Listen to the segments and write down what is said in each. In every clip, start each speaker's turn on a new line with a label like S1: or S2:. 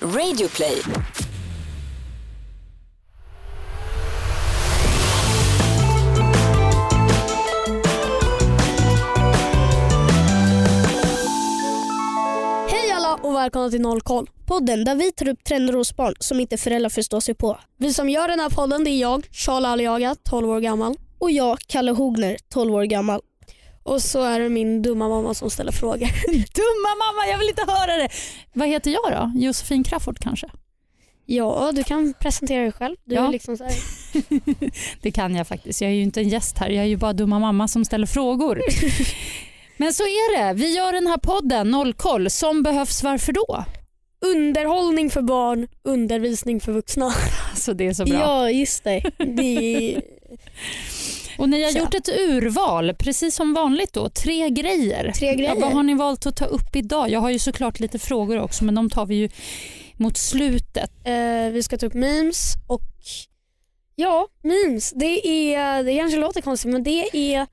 S1: Radioplay.
S2: Hej alla och välkomna till Nollkoll.
S3: Podden där vi tar upp trender hos barn som inte föräldrar förstår sig på.
S2: Vi som gör den här podden det är jag, Charles Aliaga, 12 år gammal.
S3: Och jag, Kalle Hogner, 12 år gammal.
S2: Och så är det min dumma mamma som ställer frågor.
S4: Dumma mamma, jag vill inte höra det. Vad heter jag då? Josefin Crafoord kanske?
S2: Ja, du kan presentera dig själv. Du
S4: Ja.
S2: är liksom så här.
S4: Det kan jag faktiskt. Jag är ju inte en gäst här. Jag är ju bara dumma mamma som ställer frågor. Men så är det. Vi gör den här podden Nollkoll som behövs. Varför då?
S2: Underhållning för barn, undervisning för vuxna.
S4: Alltså det är så bra.
S3: Ja, just det.
S2: Det är...
S4: Och ni har
S2: så.
S4: gjort ett urval, precis som vanligt då. Tre grejer.
S3: Tre
S4: Ja,
S3: grejer.
S4: vad har ni valt att ta upp idag? Jag har ju såklart lite frågor också men de tar vi ju mot slutet.
S2: Eh, vi ska ta upp memes och ja, memes. Det, är, det kanske låter konstigt men det är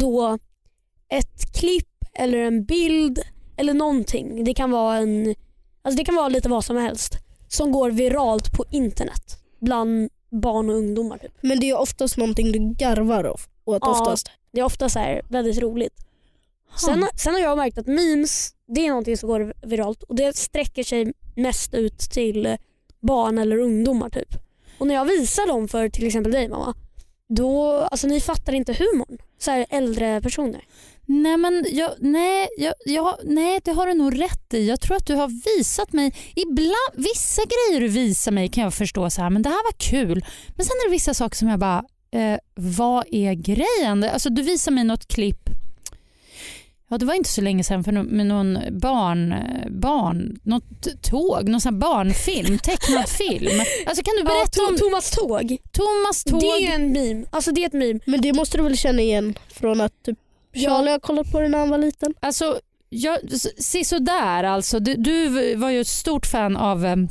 S2: då ett klipp eller en bild eller någonting. Det kan vara, en, alltså det kan vara lite vad som helst som går viralt på internet bland barn och ungdomar. Typ.
S3: Men det är oftast någonting du garvar åt
S2: Ja.
S3: oftast.
S2: Det är ofta så här väldigt roligt. Sen, sen har jag märkt att memes det är någonting som går viralt och det sträcker sig mest ut till eh, barn eller ungdomar. typ. Och När jag visar dem för till exempel dig mamma, då, alltså ni fattar inte humorn. Så här äldre personer.
S4: Nej, men jag, nej, jag, jag, nej, det har du nog rätt i. Jag tror att du har visat mig... Ibland, vissa grejer du visar mig kan jag förstå så här, men det här var kul. Men sen är det vissa saker som jag bara, eh, vad är grejen? Alltså, du visar mig något klipp. Ja, det var inte så länge sedan för no- med någon barn, eh, barn, något tåg, någon sån här barnfilm, tecknad film. Alltså kan du berätta
S2: ja,
S4: om
S2: to- Thomas Tåg,
S4: Thomas tåg?
S2: det är ju en meme. Alltså det är ett meme.
S3: Men det måste du väl känna igen från att typ Charlie har kollat på den när han var liten?
S4: Alltså, jag, s- se så där alltså. Du, du v- var ju ett stort fan av em,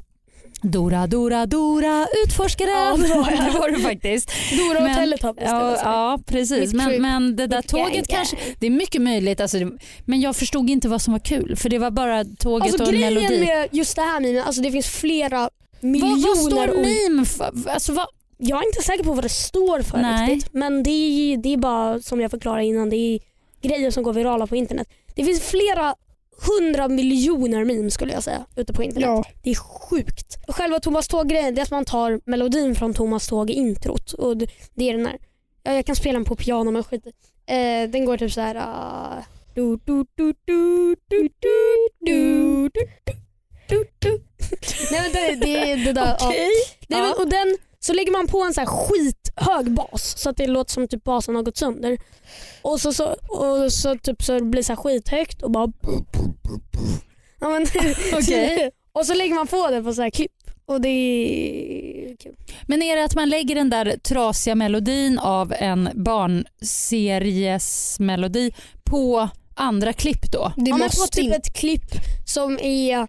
S4: Dora, Dora, Dora, utforskaren.
S2: Ja, det var jag.
S4: det var du faktiskt.
S2: Dora och alltså.
S4: Men-
S2: Teletubbies. det var
S4: Ja,
S2: så här.
S4: ja precis.
S2: Mitt
S4: Men,
S2: trip.
S4: men det där
S2: Mitt
S4: tåget
S2: gäng.
S4: kanske... Det är mycket möjligt. Alltså, det, men jag förstod inte vad som var kul. För det var bara tåget
S2: Alltså
S4: och en
S2: grejen
S4: melodi.
S2: med just det här memen, alltså det finns flera
S4: Vad,
S2: miljoner
S4: vad står
S2: olika-
S4: meme för? Alltså, vad,
S2: Jag är inte säker på vad det står för
S4: Nej.
S2: riktigt. Men det är, det är bara som jag förklarade innan, det är grejer som går virala på internet. Det finns flera hundra miljoner memes skulle jag säga ute på internet. Det är sjukt. Själva Thomas Tåg-grejen det är att man tar melodin från Thomas Tåg i introt. Och det det är den här. Ja, jag kan spela den på piano men skit i. eh, Den går typ så här. ah, du, du, du, du, du, du, du, du, du, du. Nej men det, det, det där. ja. Nej, men, och den, så lägger man på en så här skithög bas så att det låter som typ basen har gått sönder. Och så, så, och så, typ, så blir det så här skithögt och bara... Ja, men,
S4: Okej.
S2: och så lägger man på det på så här klipp. Och det är kul.
S4: Men är det att man lägger den där trasiga melodin av en barnseries melodi på andra klipp då?
S3: Det
S2: Ja, men på
S3: måste
S2: typ
S3: inte.
S2: ett klipp som är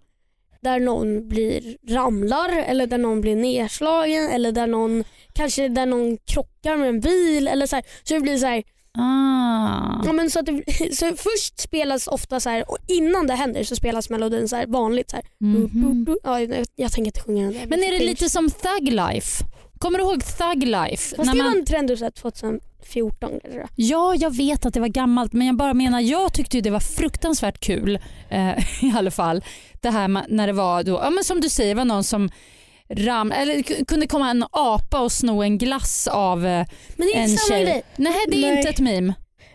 S2: där någon blir ramlar eller där någon blir nedslagen eller där någon kanske där någon krockar med en bil. Eller så, här. så det blir så här
S4: Ah.
S2: Ja, men så, att det, så först spelas ofta så här, och innan det händer så spelas melodin så här, vanligt. Så här.
S4: Mhm.
S2: Ja, jag, jag tänker inte sjunga den där.
S4: Men är det lite som Thug Life? Kommer du ihåg Thug Life?
S2: Fast
S4: När
S2: det var
S4: man...
S2: en trend du sett 2014 kanske. då.
S4: Ja, jag vet att det var gammalt men jag bara menar jag tyckte ju det var fruktansvärt kul eh, i alla fall. Det här ma- när det var då, ja, men som du säger, var någon som ram, eller k- kunde komma en apa och sno en glass av eh,
S2: Men det är
S4: en
S2: inte samma
S4: tjej.
S2: grej.
S4: Nej, det är
S3: Nej.
S4: inte ett meme.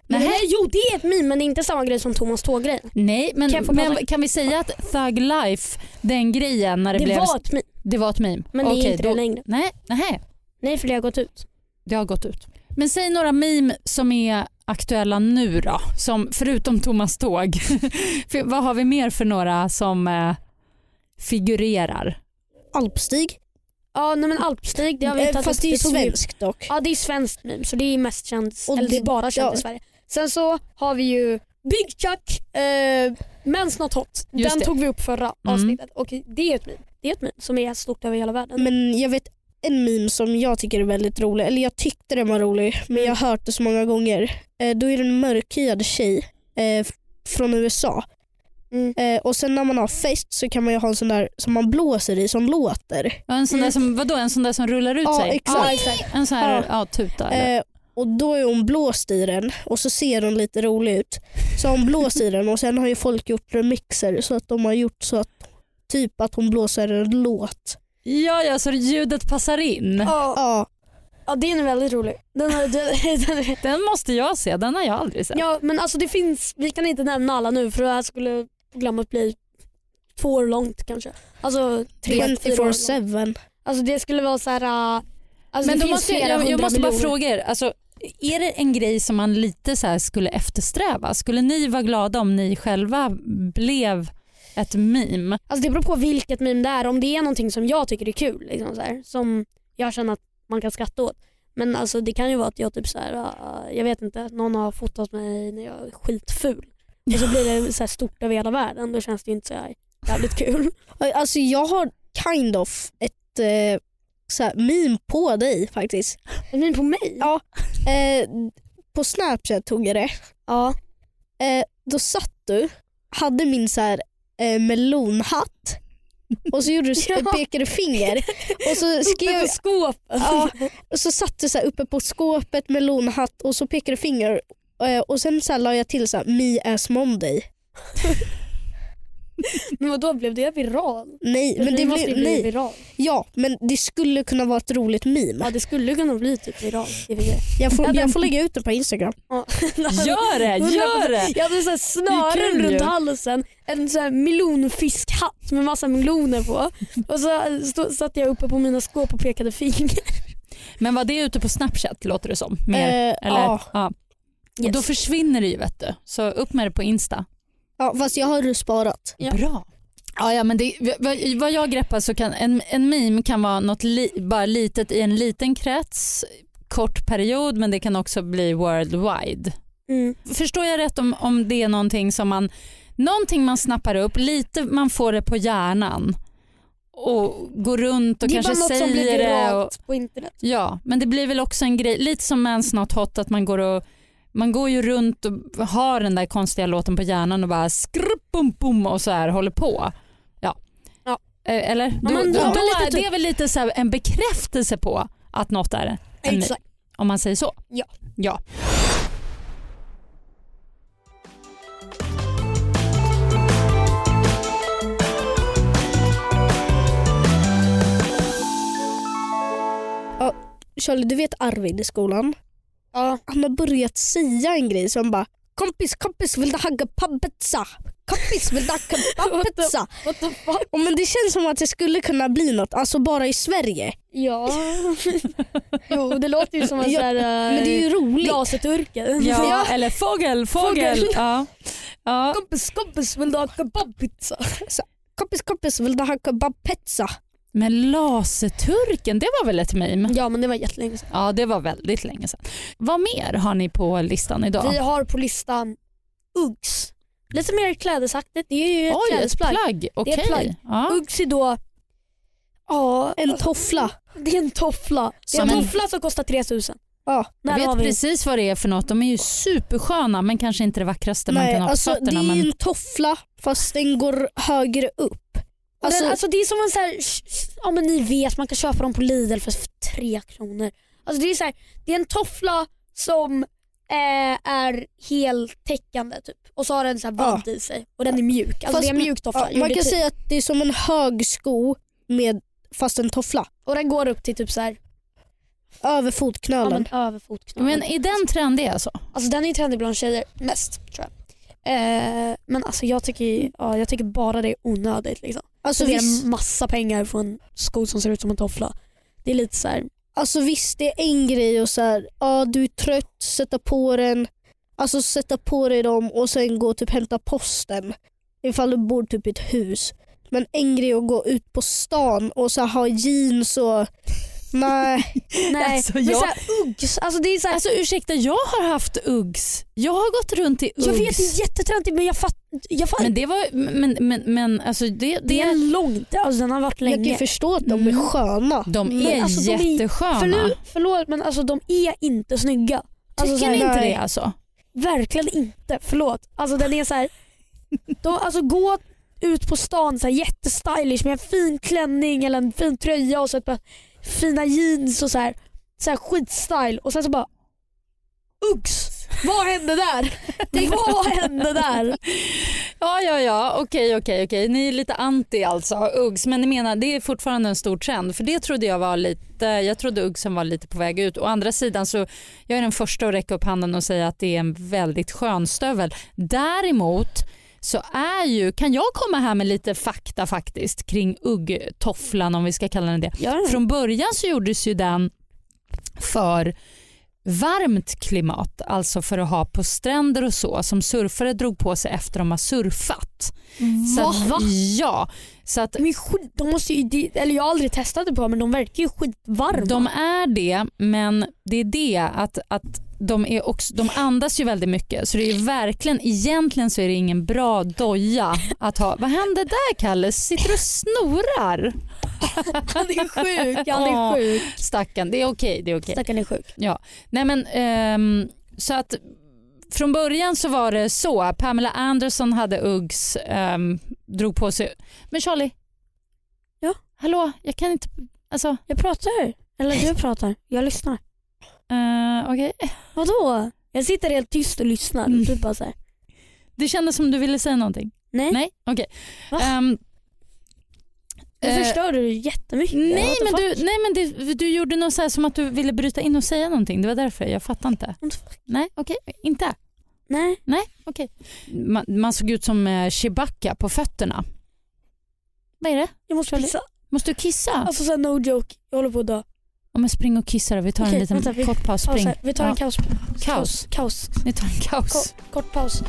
S2: Men det,
S4: Nej.
S2: nej, jo det är ett meme men det är inte samma grej som Thomas Tåg-grejen.
S4: Nej, men,
S2: Kan jag få prata?
S4: men kan vi säga att Thug Life, den grejen när det,
S2: Det,
S4: blev...
S2: var ett meme
S4: det var ett meme?
S2: men det
S4: Okej,
S2: är inte det
S4: då,
S2: längre.
S4: Nej, nej,
S2: Nej för det har gått ut.
S4: det har gått ut. Men säg några meme som är aktuella nu då, som, förutom Thomas Tåg. För vad har vi mer för några som eh, figurerar?
S3: Alpstig.
S2: Ja nej, men alpstig det har vi typ
S3: Eh,
S2: tagit
S3: Fast
S2: upp.
S3: det är ju
S2: tog vi ut.
S3: svenskt dock.
S2: Ja det är svenskt meme så det är mest känt,
S3: Och
S2: eller det är
S3: det-
S2: bara känt
S3: ja.
S2: i Sverige. Sen så har vi ju Big Chuck, eh, Mens Not Hot.
S4: Just
S2: Den
S4: det.
S2: tog vi upp förra
S4: Mm.
S2: avsnittet och det är ett meme. Det är ett meme som är stort över hela världen.
S3: Men jag vet en meme som jag tycker är väldigt rolig, eller jag tyckte den var rolig men jag har hört det så många gånger. Eh, då är det en mörkhyad tjej eh, f- från USA
S2: Mm.
S3: Eh, och sen när man har fest så kan man ju ha en sån där som man blåser i som låter.
S4: Ja, en sån där
S2: Mm.
S4: som, vadå, en sån där som rullar ut
S3: Ja,
S4: sig?
S3: exakt.
S4: Ja, en sån här ja. tuta. eller?
S3: Eh, och då är hon blåst i den och så ser hon lite rolig ut. Så har hon blåst i den och sen har ju folk gjort remixer så att de har gjort så att typ att hon blåser en låt.
S4: Ja, ja, så ljudet passar in.
S2: Ja,
S3: Ja,
S2: ja, den är väldigt rolig. Den är, den, den är,
S4: Den måste jag se, den har jag aldrig sett.
S2: ja, men alltså det finns, vi kan inte nämna alla nu för det här skulle programmet bli två år långt kanske. Alltså tre, fyra år långt.
S3: 24-7.
S2: Alltså det skulle vara så här... äh, Alltså
S4: men
S2: det
S4: då
S2: finns
S4: måste,
S2: flera
S4: jag, jag
S2: hundra
S4: måste bara
S2: miljoner.
S4: fråga er, alltså, är det en grej som man lite så här skulle eftersträva? Skulle ni vara glada om ni själva blev ett meme?
S2: Alltså det beror på vilket meme det är. Om det är någonting som jag tycker är kul, liksom så här, som jag känner att man kan skratta åt. Men alltså det kan ju vara att jag typ så här, äh, jag vet inte, någon har fotat mig när jag är skitful. Och så blir det så här stort över hela världen. Då känns det ju inte så här jävligt kul.
S3: Alltså jag har kind of ett eh, så här, meme på dig faktiskt.
S2: Ett meme på mig?
S3: Ja. Eh, på Snapchat tog jag det.
S2: Ja.
S3: Eh, då satt du, hade min så här, eh, melonhatt och så gjorde du,
S2: Ja.
S3: pekade du finger och så, skrev,
S2: skåpet.
S3: ja, och så satt du så här uppe på skåpet, melonhatt och så pekade du finger eh, och sen så här la jag till så här, me as Monday.
S2: Men då blev det viral?
S3: Nej, men det,
S2: måste
S3: blev,
S2: ju bli
S3: nej.
S2: viral.
S3: Ja, men det skulle kunna vara ett roligt meme.
S2: Ja det skulle kunna bli typ viral. Det är väl det.
S3: Jag får,
S4: Ja, men-
S3: jag får lägga ut det på Instagram.
S2: Ja.
S4: Gör det, gör det!
S2: Jag hade så här
S4: Det är
S2: snören
S4: kul
S2: runt
S4: ju.
S2: halsen, en så här milonfiskhatt med massa meloner på. Och så stå, satt jag uppe på mina skåp och pekade finger.
S4: Men var det ute på Snapchat låter det som? Mer,
S3: Eh,
S4: eller?
S3: ja.
S4: Ja. Och då försvinner det ju vet du. Så upp med det på Insta.
S3: Ja, fast jag har det sparat.
S2: Ja.
S4: Bra. Ja, ja, men det, vad- vad jag greppar så kan en, en meme kan vara något li, bara litet i en liten krets, kort period men det kan också bli worldwide.
S2: Mm.
S4: Förstår jag rätt om, om det är någonting som man, någonting man snappar upp, lite man får det på hjärnan och går runt och
S2: det är bara
S4: kanske
S2: något
S4: säger
S2: som blir
S4: det. Och,
S2: viralt på internet.
S4: ja, men det blir väl också en grej, lite som med en snart hot att man går och man går ju runt och har den där konstiga låten på hjärnan och bara skrupp bum bum och så här håller på. Ja.
S2: Ja.
S4: Eh, Eller? Då,
S2: men-
S4: då,
S2: ja,
S4: då
S2: men lite typ-
S4: är det är väl lite så här en bekräftelse på att något är en meme,
S2: Exakt.
S4: om man säger så.
S2: Ja.
S4: ja.
S3: Charlie, du vet Arvid i skolan?
S2: Ja.
S3: han har börjat säga en grej som bara Kompis, kompis vill du hagga pabbetsa? Kompis vill du hagga pabbetsa?
S2: What the fuck?
S3: Och men det känns som att det skulle kunna bli något, alltså bara i Sverige.
S2: Ja. jo det låter ju som en
S3: Ja,
S2: sån här eh,
S3: Men det är ju roligt.
S2: glaseturka.
S4: Ja, eller fågel, fågel.
S2: Fågel.
S4: Ja. Ja.
S2: Kompis kompis vill du ha kebabpizza?
S3: Kompis, kompis vill du hagga pabbetsa?
S4: Men laserturken, det var väl ett meme?
S2: Ja men det var jättelänge sedan.
S4: Ja, det var väldigt länge sedan. Vad mer har ni på listan idag?
S2: Vi har på listan Uggs. Lite mer klädesaktigt. Det är ju ett
S4: Oj, ett
S2: klädesplagg.
S4: plagg.
S2: Det är ett
S4: Okej.
S2: plagg.
S4: Ja.
S2: Uggs är då Ja,
S3: En toffla.
S2: det är en toffla. Det är
S4: Som
S2: en
S4: en-
S2: toffla som kostar 3000.
S3: Ja,
S4: Jag
S2: Där har
S4: vet
S2: vi.
S4: precis vad det är för något. De är ju supersköna men kanske inte det vackraste man
S3: Nej,
S4: kan ha på
S3: alltså, det
S4: fötterna.
S3: är ju
S4: Men...
S3: en toffla fast den går högre upp.
S2: Och
S3: Alltså,
S2: den, alltså det är som en så här, ja men ni vet man kan köpa dem på Lidl för tre kronor. Alltså det är så här, det är en toffla som eh, är heltäckande typ. Och så har den så här
S3: Ja.
S2: vadd i sig och den är mjuk. Alltså
S3: Fast-
S2: det är en mjuk toffla. typ-
S3: ja,
S2: gjord
S3: man
S2: i
S3: kan
S2: tyg.
S3: säga att det är som en hög sko med, fast en toffla.
S2: Och den går upp till typ så här,
S3: Över
S2: ja,
S3: fotknölen.
S2: men, över fotknölen.
S4: Men är den trendig alltså?
S2: Alltså den är ju trendig bland tjejer mest tror jag. Eh, men alltså jag tycker, ju- ja, jag tycker bara det är onödigt. Liksom.
S3: alltså,
S2: Så det är
S3: visst,
S2: en massa pengar för en sko som ser ut som en toffla. Det är lite så här,
S3: Alltså visst, det är en grej och så här, ja du är trött, sätta på den. Alltså sätta på dig dem och sen gå och typ hämta posten. Ifall du bor typ i ett hus. Men en grej är att gå ut på stan och så här, ha jeans och... Nej.
S2: nej.
S4: Alltså,
S2: men
S4: jag-
S2: så här Uggs, alltså det är så här,
S4: Alltså ursäkta, jag har haft Uggs. Jag har gått runt i Uggs.
S2: jag vet det är jättetrendigt men jag fattar, jag fatt,
S4: Men det var, men, men, men alltså det,
S2: det
S4: det
S2: är en lång, alltså den har varit
S3: Jag kan ju
S2: länge.
S3: förstå att de är
S4: Mm.
S3: sköna.
S4: de
S2: Men
S4: är
S2: alltså, de är-
S4: jättesköna.
S2: För nu, förlåt men alltså de är inte snygga. Alltså,
S4: Tycker
S2: så här,
S4: ni inte
S3: nej.
S4: det alltså?
S2: Verkligen inte, förlåt. Alltså den är så här, De, alltså gå ut på stan så här, jättestylish med en fin klänning eller en fin tröja och så ett par fina jeans och så här, så här skitstyle och sen så bara Uggs! Vad hände där? Tänk, vad hände där?
S4: Ja, ja, ja. Okej, okej, okej. Ni är lite anti alltså, Uggs. Men ni menar, det är fortfarande en stor trend. För det trodde jag var lite, jag trodde Uggsen var lite på väg ut. Å andra sidan så, jag är den första att räcka upp handen och säga att det är en väldigt skön stövel. Däremot så är ju, kan jag komma här med lite fakta faktiskt kring uggtofflan om vi ska kalla den det.
S2: Gör
S4: Från början så gjordes ju den för varmt klimat, alltså för att ha på stränder och så som surfare drog på sig efter de har surfat.
S2: Mm.
S4: Så att, ja, så att
S2: De, är skit, de måste ju, det- eller jag har aldrig testat det på men de verkar ju skitvarma.
S4: de är det men det är det att, att de, är också, de andas ju väldigt mycket så det är ju verkligen, egentligen så är det ingen bra doja att ha. Vad hände där Kalle? Sitter du och snorar?
S2: Han är sjuk, han är
S4: Ja.
S2: sjuk.
S4: Stackarn, det är okej. Det är okej.
S2: Stackarn är sjuk.
S4: Nej men ehm, så att från början så var det så. Pamela Anderson hade Uggs, ehm, drog på sig... Men Charlie?
S2: Ja?
S4: Hallå, jag kan inte... Alltså,
S2: Jag pratar. Eller du pratar. Jag lyssnar.
S4: eh, okej.
S2: Vadå? Jag sitter helt tyst och lyssnar.
S4: Mm.
S2: Du bara så här.
S4: Det kändes som du ville säga någonting.
S2: Nej.
S4: Nej, okej.
S2: Va?
S4: Ehm,
S2: Nu
S4: eh,
S2: förstör du jättemycket.
S4: Nej
S2: What the
S4: men,
S2: fuck?
S4: du, nej men det, du gjorde något så här som att du ville bryta in och säga någonting. Det var därför. Jag fattar inte.
S2: What the fuck?
S4: Nej, okej. Inte?
S2: Nej.
S4: Okej. Man, man såg ut som eh, Chewbacca på fötterna. Vad är det?
S2: Jag måste
S4: Charlie?
S2: pissa.
S4: Måste du kissa?
S2: Alltså såhär no joke. Jag håller på att dö.
S4: Ja, men spring och kissa då. Vi tar
S2: Okej,
S4: en liten
S2: vänta, vi-
S4: kort paus.
S2: Paus
S4: Spring.
S2: här. Vi tar en
S4: Ja,
S2: kaos.
S4: Kaos.
S2: Kaos.
S4: Ni tar en kaos.
S2: Kort, kort paus.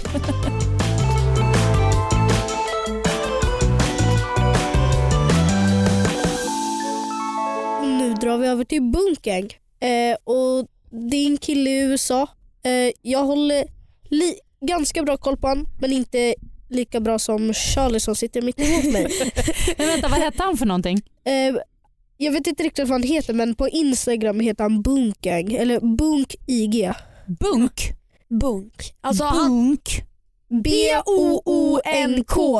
S3: Nu drar vi över till Bunkang. Eh, och det är en kille i USA. Eh, jag håller li- ganska bra koll på honom men inte lika bra som Charlie som sitter mitt emot mig.
S4: Men vänta, vad hette han för någonting?
S3: Eh, jag vet inte riktigt vad han heter men på Instagram heter han Bunkang. Eller Bunk IG.
S4: Bunk?
S2: Bunk. Alltså han...
S4: Bunk?
S2: B-O-O-N-K.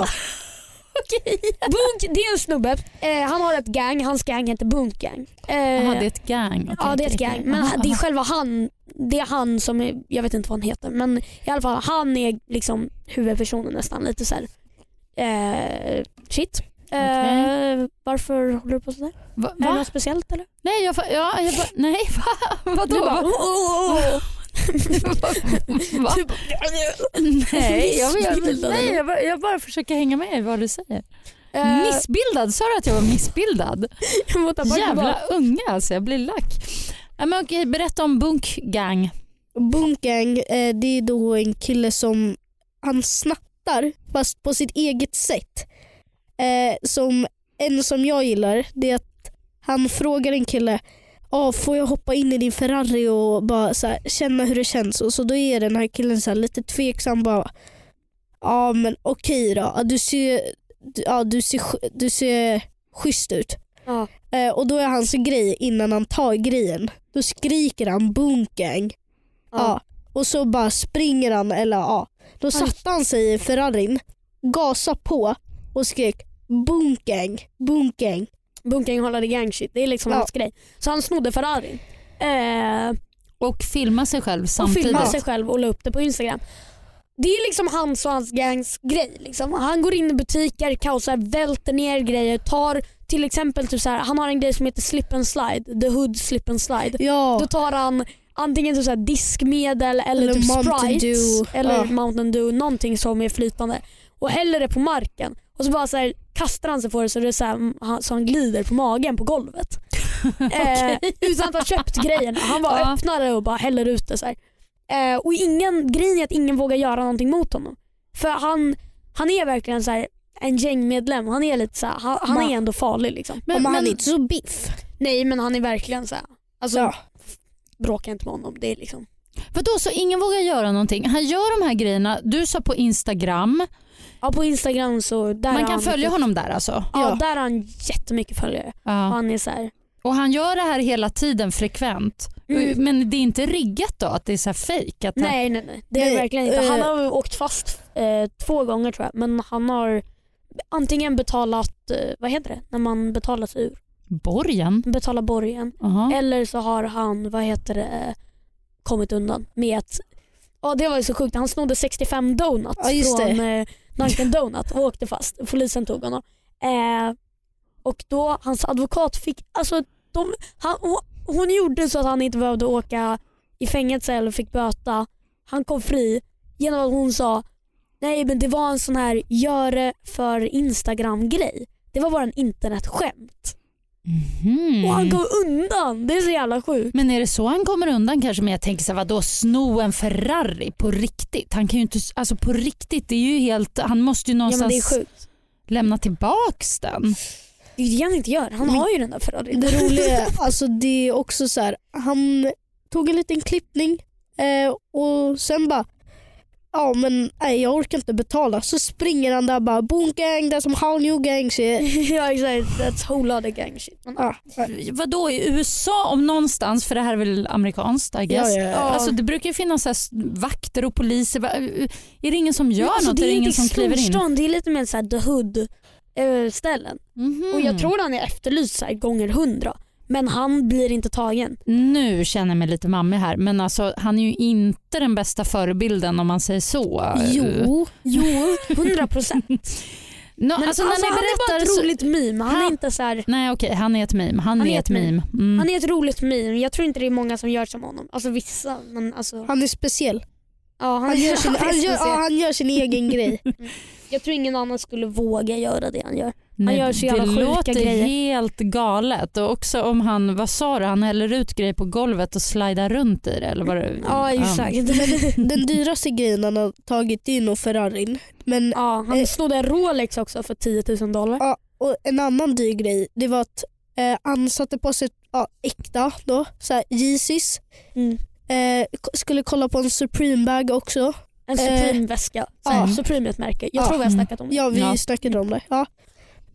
S4: Okej.
S2: Bunk det är en snubbe. Eh, han har ett gang. Hans gang heter Bunk gang. Eh,
S4: Jaha, det är ett gang. Okej,
S2: ja det är ett
S4: okej, okej.
S2: gang. Men
S4: Aha,
S2: det är
S4: aha.
S2: själva han. Det är han som är, jag vet inte vad han heter men i alla fall han är liksom huvudpersonen nästan. Lite såhär eh, shit. Eh,
S4: Okej.
S2: varför håller du på sådär?
S4: Va?
S2: Är det
S4: va?
S2: något speciellt eller?
S4: Nej, jag, fa- ja, jag bara, nej, va? Vadå?
S2: Du bara, "Oh,
S4: Va? Va?
S2: Du bara,
S4: Nej, jag, jag,
S2: Missbildad,
S4: nej
S2: eller?
S4: jag, bara, jag bara försöker hänga med i vad du säger.
S2: Eh,
S4: Missbildad? Sa du att jag var missbildad?
S2: jag måste ta bort det bara.
S4: Jävla unga alltså, jag blir lack. Ja, men okej, berätta om Bunk Gang.
S3: Bunkgang eh, det är då en kille som han snattar fast på sitt eget sätt. Eh, som En som jag gillar det är att han frågar en kille ah, får jag hoppa in i din Ferrari och bara så här, känna hur det känns. Och så Då är den här killen så här, lite tveksam. bara Ja men okej då. Ja, Du ser, du, ja, du ser, sch- du ser schysst ut.
S2: Ja.
S3: Eh, och Då är hans grej innan han tar grejen. Då skriker han bunkgang. Ja. Och så bara springer han, eller ja. Då satte han sig i Ferrarin, gasade på och skrek bunkeng, bunkeng.
S2: Bunkring håller gang shit. Det är liksom
S3: Ja.
S2: hans grej. Så han snodde Ferrarin. Eh,
S4: Och filma sig själv
S2: och
S4: samtidigt.
S2: filmade sig själv och la upp det på Instagram. Det är liksom hans och hans gangs grej. Liksom. Han går in i butiker, kaosar, välter ner grejer. Tar till exempel, typ så här, han har en grej som heter slip and slide. The hood slip and slide. Då
S3: Ja,
S2: tar han antingen typ så här diskmedel eller,
S3: Eller
S2: typ
S3: Mountain
S2: Sprites
S3: Dew.
S2: eller
S3: Ja.
S2: Mountain Dew, någonting som är flytande och häller det på marken och så bara så här, kastar han sig på det så, det är så, här, han, så han glider på magen på golvet. eh, utan att ha köpt grejen. Han bara
S4: Ja.
S2: öppnar det och bara häller ut det. Så här. Eh, och ingen, grejen är att ingen vågar göra någonting mot honom. För han, han är verkligen så här, en gängmedlem. Han är lite så här, han, han
S3: Man-
S2: är ändå farlig. Liksom.
S3: men,
S4: Men,
S3: han
S4: men,
S3: är inte så biff.
S2: Nej men han är verkligen så här, alltså,
S3: Ja.
S2: bråka inte med honom. Det är liksom
S4: vadå, så ingen vågar göra någonting? Han gör de här grejerna. Du sa på Instagram.
S2: Ja på Instagram så där
S4: Man
S2: har
S4: kan
S2: han,
S4: följa honom där alltså?
S2: Ja,
S3: Ja.
S2: där har han jättemycket följare.
S4: Ja.
S2: Han är så här,
S4: Och han gör det här hela tiden frekvent.
S2: Mm.
S4: Men det är inte riggat då att det är så här fejk? att han-
S2: Nej, nej, nej. Det är
S3: Nej,
S2: det verkligen inte.
S3: eh.
S2: Han har ju åkt fast eh, två gånger tror jag. Men han har antingen betalat, eh, vad heter det, när man betalar sig ur.
S4: Borgen?
S2: Betalar borgen.
S4: Jaha.
S2: Eller så har han, vad heter det, eh, kommit undan med att Ja det var ju så sjukt. Han snodde 65 donuts
S3: Ja, just
S2: från eh, Dunkin Donut och åkte fast. Polisen tog honom. Eh, och då hans advokat fick, alltså de, han, hon, hon gjorde så att han inte behövde åka i fängelse eller fick böta. Han kom fri genom att hon sa nej men det var en sån här gör det för Instagram grej. Det var bara en internetskämt.
S4: Mhm.
S2: Eh, Och han
S3: Mm.
S2: kom undan. Det är så jävla sjukt.
S4: Men är det så han kommer undan kanske? Men jag tänker så här, vadå sno en Ferrari på riktigt? Han kan ju inte, alltså på riktigt, det är ju helt, han måste ju
S2: Ja men det är
S4: någonstans
S2: sjukt.
S4: lämna tillbaks den.
S2: Det är ju det han inte gör. Han
S3: Men-
S2: har ju den där Ferrarin.
S3: Det roliga är, alltså det är också så här, han tog en liten klippning eh, och sen bara Ja men nej, jag orkar inte betala. Så springer han där bara boom-gang, där som how new gang shit.
S2: ja exakt, that's whole other gang shit. Men,
S3: Ja, ja,
S4: Vadå i USA om någonstans, för det här är väl amerikanskt I guess?
S3: ja, ja.
S4: Alltså det brukar ju finnas så här s- vakter och poliser. Va- eh, Är det ingen som gör
S2: Men alltså,
S4: något? är det ingen som kliver in?
S2: storstan, det är lite mer såhär the hood eh, ställen.
S4: Mhm.
S2: Och jag tror han är efterlyst så här, gånger hundra. Men han blir inte tagen.
S4: Nu känner jag mig lite mammig här men alltså, han är ju inte den bästa förebilden om man säger så.
S3: Jo, jo.
S2: Hundra procent. Men
S4: Nå,
S2: alltså,
S4: alltså, när ni
S2: han är bara
S4: berättar
S2: ett
S4: så-
S2: roligt meme. Han är
S4: Han-
S2: inte så här,
S4: Nej okej, han är ett meme. Han, är ett meme. Mm.
S2: han är ett roligt meme. Jag tror inte det är många som gör som honom. Alltså vissa men alltså.
S3: Han är speciell.
S2: ja, han,
S3: Han gör sin,
S2: han är
S3: han gör,
S2: speciell.
S3: ja, han gör sin egen grej.
S2: Jag tror ingen annan skulle våga göra det han gör.
S4: Nej,
S2: gör så jävla
S4: det
S2: sjuka
S4: låter
S2: grejer.
S4: helt galet. Och också om han, vad sa du, han häller ut grejer på golvet och slidar runt i det eller vad det,
S2: Ja exakt.
S3: Den dyraste grejen han har tagit är nog Ferrarin. Men
S2: Ja, han
S3: Eh.
S2: snodde en Rolex också för 10 000 dollar.
S3: Ja, och en annan dyr grej det var att eh, han satte på sig ja, äkta då, så här, Yeezys.
S2: Mm.
S3: Eh, k- skulle kolla på en Supreme-bag också.
S2: En
S4: eh,
S2: Supreme-väska.
S3: ja.
S2: Äh, Supreme är ett märke. Jag
S3: Ja.
S2: tror vi har snackat om det.
S3: Ja, vi
S4: mm. Ja.
S3: snackade om det. Ja.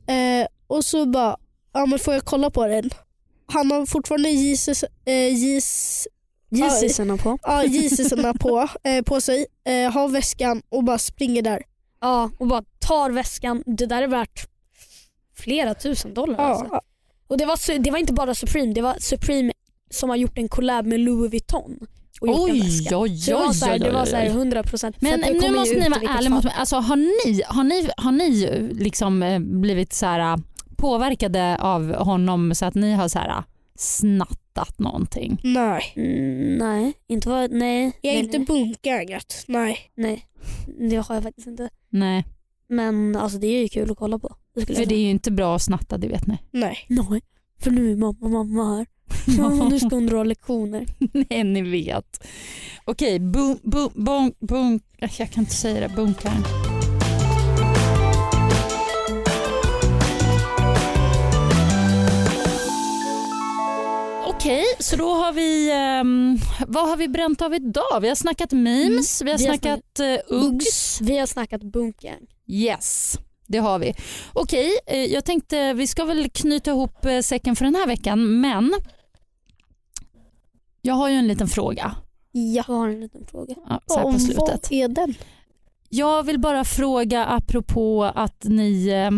S3: Eh, och så bara, ja men får jag kolla på den? Han har fortfarande Yeezys, eh, Yeez,
S2: Jeezysen på.
S3: ja, Yeezysarna på, eh, på sig, eh, har väskan och bara springer där.
S2: Ja, och bara tar väskan. Det där är värt flera tusen dollar. Alltså.
S3: Ja,
S2: Och det var, su- det var inte bara Supreme, det var Supreme som har gjort en collab med Louis Vuitton. Och gjort en
S4: Oj, oj,
S2: väska.
S4: oj,
S2: Så det var
S4: oj,
S2: så här,
S4: oj,
S2: det var
S4: oj,
S2: så här
S4: oj.
S2: 100%. Så
S4: Men
S2: att det
S4: nu
S2: kommer ju
S4: måste
S2: ut
S4: ni
S2: i
S4: vara
S2: vilket
S4: ärliga
S2: fall.
S4: mot mig. Alltså, har ni, har ni, har ni eh, liksom eh, blivit så här eh, påverkade av honom så att ni har så här eh, snattat någonting?
S3: nej.
S2: Mm, nej, inte vad... Nej.
S3: Jag är
S2: nej,
S3: inte
S2: nej,
S3: bunkägat. Nej.
S2: nej. Det har jag faktiskt inte.
S4: Nej,
S2: Men alltså det är ju kul att kolla på. Det skulle jag
S4: för det
S2: säga.
S4: är ju inte bra att snatta, det vet ni.
S3: Nej.
S2: Nej, för nu är mamma mamma här. Mamma, nu ska hon dra lektioner.
S4: Nej, ni vet. Okej, bunk, bunk, bunk, bunk. Jag kan inte säga det. Bunkaren. Okej, så då har vi... ehm, vad har vi bränt av idag? Vi har snackat memes, vi har
S2: Vi har
S4: snackat eh, Uggs.
S2: Vi har snackat bunkern.
S4: Yes, det har vi. Okej, eh, jag tänkte vi ska väl knyta ihop eh, säcken för den här veckan, men jag har ju en liten fråga.
S3: Ja.
S2: Jag har en liten fråga.
S4: Ja, så här på
S3: Och
S4: slutet.
S3: Vad är den?
S4: Jag vill bara fråga apropå att ni eh,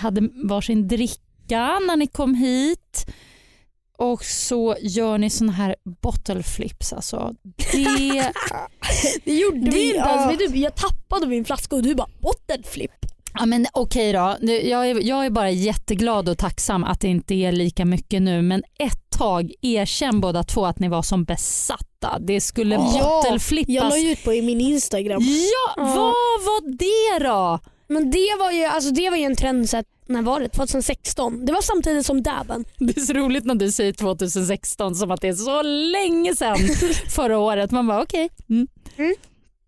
S4: hade varsin dricka när ni kom hit och så gör ni såna här bottle flips. Alltså, det,
S2: Det gjorde
S3: Det-
S2: vi inte
S3: ja.
S2: ens. Vet du, jag tappade min flaska och du bara bottenflip.
S4: ja, men okej då, Nu- jag är, jag är bara jätteglad och tacksam att det inte är lika mycket nu men ett tag erkänn båda två att ni var som besatta. Det skulle
S3: Ja,
S4: bottle
S3: Jag
S4: flippas.
S3: la ju ut på i min Instagram.
S4: Ja,
S2: Ja.
S4: vad var det då?
S2: Men det var ju, alltså, det var ju en trend så att, när var det? 2016. Det var samtidigt som dabben.
S4: Det är så roligt när du säger 2016 som att det är så länge sedan förra året. Man bara okej. Mm.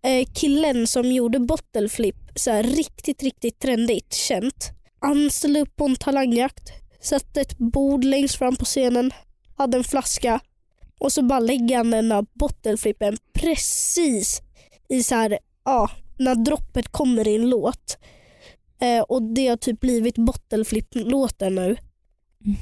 S3: Eh, killen som gjorde bottleflip, så här, riktigt, riktigt trendigt känt. Han ställde upp på en talangjakt, satte ett bord längst fram på scenen, hade en flaska och så bara lägger han den där bottleflippen precis i så här, ja, när droppet kommer i en låt. Eh, och det har typ blivit bottleflip-låten nu.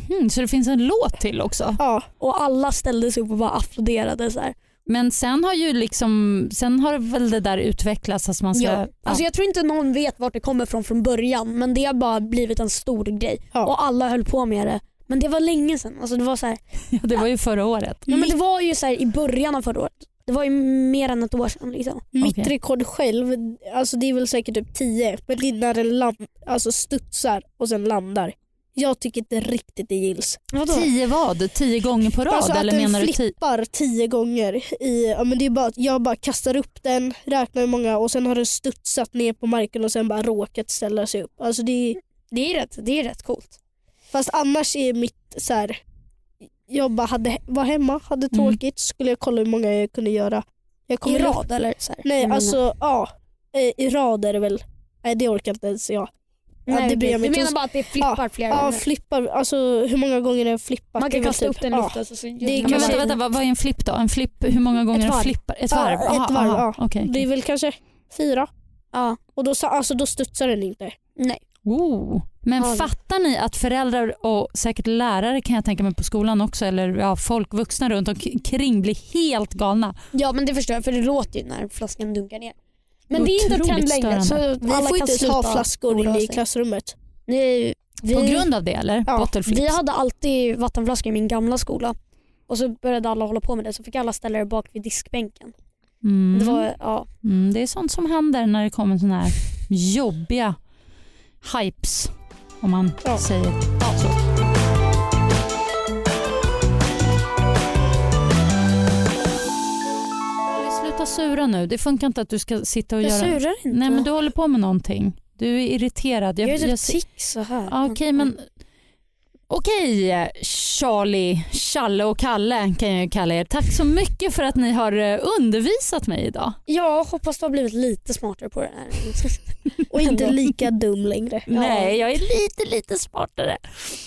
S4: Mhm, så det finns en låt till också.
S3: Ja,
S2: Och alla ställde sig upp och bara applåderade. Så här.
S4: Men sen har ju liksom, sen har väl det där utvecklats. Att man ska,
S2: Ja. Alltså
S4: ja.
S2: jag tror inte någon vet vart det kommer från från början men det har bara blivit en stor grej
S3: Ja.
S2: och alla höll på med det. Men det var länge sedan. Alltså det, var så här,
S4: det var ju förra året.
S2: ja, men det var ju så här i början av förra året. Det var ju mer än ett år sedan. Liksom.
S3: mitt
S4: Okej.
S3: rekord själv, alltså det är väl säkert typ 10, men det är när den land, alltså studsar och sen landar. Jag tycker inte riktigt det gills.
S4: Tio vad? Tio gånger på rad?
S3: alltså att
S4: eller
S3: den
S4: menar du tio?
S3: flippar tio gånger. I, ja, men det är bara, att jag bara kastar upp den, räknar hur många och sen har den studsat ner på marken och sen bara råkat ställa sig upp. Alltså det är,
S2: Det, är rätt, det är rätt coolt.
S3: fast annars är mitt så här, jag bara hade, var hemma, hade
S4: Mm.
S3: tråkigt, skulle jag kolla hur många jag kunde göra. Jag
S2: I
S3: kommer
S2: rad eller? Så här.
S3: Nej,
S2: Hur många?
S3: alltså ja. Eh, I rad är det väl. Nej, det orkar inte ens jag.
S2: Nej,
S3: det blir
S2: okej.
S3: jag
S2: du
S3: mitt
S2: menar
S3: hos-
S2: bara att det flippar flera
S3: Ja,
S2: gånger?
S3: flippar. Alltså hur många gånger har jag
S2: Man
S3: flippat? Det är
S2: kan
S3: väl
S2: kasta upp den i
S3: ja.
S2: luften. så- så-
S3: Det
S4: Men
S3: kan
S4: vänta,
S3: man-
S4: vänta, vad, vad är en flipp då? En flipp, hur många gånger
S2: Ett
S4: den
S2: varv.
S4: flippar? Ett
S3: Ja,
S4: varv?
S3: ett
S4: Aha,
S3: varv,
S4: aha.
S3: ja.
S4: Okej.
S3: Det är väl kanske fyra.
S2: Ja.
S3: Och då, sa- alltså, då studsar den inte.
S2: Nej.
S4: Oh. Men
S2: Ja.
S4: fattar ni att föräldrar och säkert lärare kan jag tänka mig på skolan också eller ja, folk vuxna runt omkring blir helt galna.
S2: ja men det förstår jag för det låter ju när flaskan dunkar ner. Men det är inte en
S4: Otroligt
S2: trend längre. Så
S4: störande.
S3: Vi
S2: alla
S3: får
S2: kan
S3: inte ens ha
S2: sluta
S3: flaskor
S2: oroa
S3: inne i
S2: sig.
S3: klassrummet.
S2: Nej, vi,
S4: På grund av det eller?
S3: Ja,
S4: Bottle flips.
S2: vi hade alltid vattenflaskor i min gamla skola och så började alla hålla på med det så fick alla ställa det bak vid diskbänken.
S4: mm.
S2: Det, var, ja,
S4: Mm, det är sånt som händer när det kommer såna här jobbiga hypes om man
S3: Ja.
S4: säger så. Sluta sura nu. Det funkar inte att du ska sitta och
S2: jag
S4: göra...
S2: surar inte.
S4: Nej men du håller på med någonting. Du är irriterad.
S2: jag är typ
S4: jag ser-
S2: tick så här.
S4: Ja, Okej, men... Okej, Charlie, Challe och Kalle kan jag ju kalla er. Tack så mycket för att ni har eh, undervisat mig idag.
S2: Jag hoppas du har blivit lite smartare på det här.
S3: Och inte lika dum längre.
S4: Nej, jag är lite, lite smartare.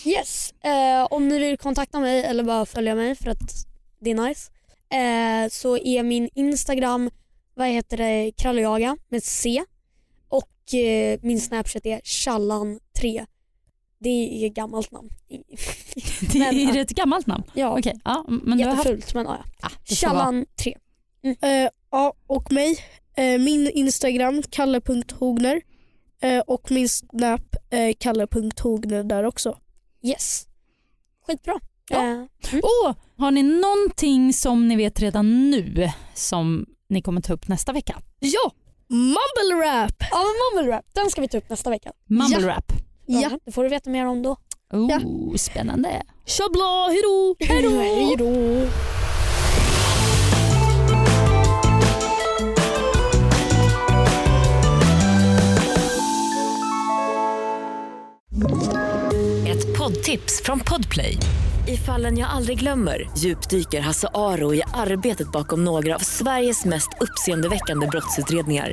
S2: Yes, eh, om ni vill kontakta mig eller bara följa mig för att det är nice eh, så är min Instagram vad heter det, krallejaga med C och eh, min Snapchat är challan3. Det är ett gammalt namn.
S4: Det
S2: Men, ja.
S4: är ett gammalt namn.
S2: Ja,
S4: Okej, ja, men du har haft...
S2: jättefult men ja. ja.
S4: Ah, det får vara.
S2: Challan3.
S3: Eh, ja, och mig. Eh, min Instagram, kalle.hogner. Eh, och min Snap, eh, kalle.hogner där också.
S2: Yes. Skitbra.
S4: Ja.
S2: Eh,
S4: Åh, har ni någonting som ni vet redan nu som ni kommer ta upp nästa vecka?
S3: Ja! Mumble rap!
S2: ja men mumble rap, den ska vi ta upp nästa vecka.
S4: Mumble
S3: Ja.
S4: rap.
S3: Ja.
S2: Det får du veta mer om då.
S4: Oh,
S3: Ja.
S4: Spännande.
S3: Tja bla, hejdå!
S2: Hej då!
S1: Ett poddtips från Podplay. I fallen jag aldrig glömmer djupdyker Hasse Aro i arbetet bakom några av Sveriges mest uppseendeväckande brottsutredningar.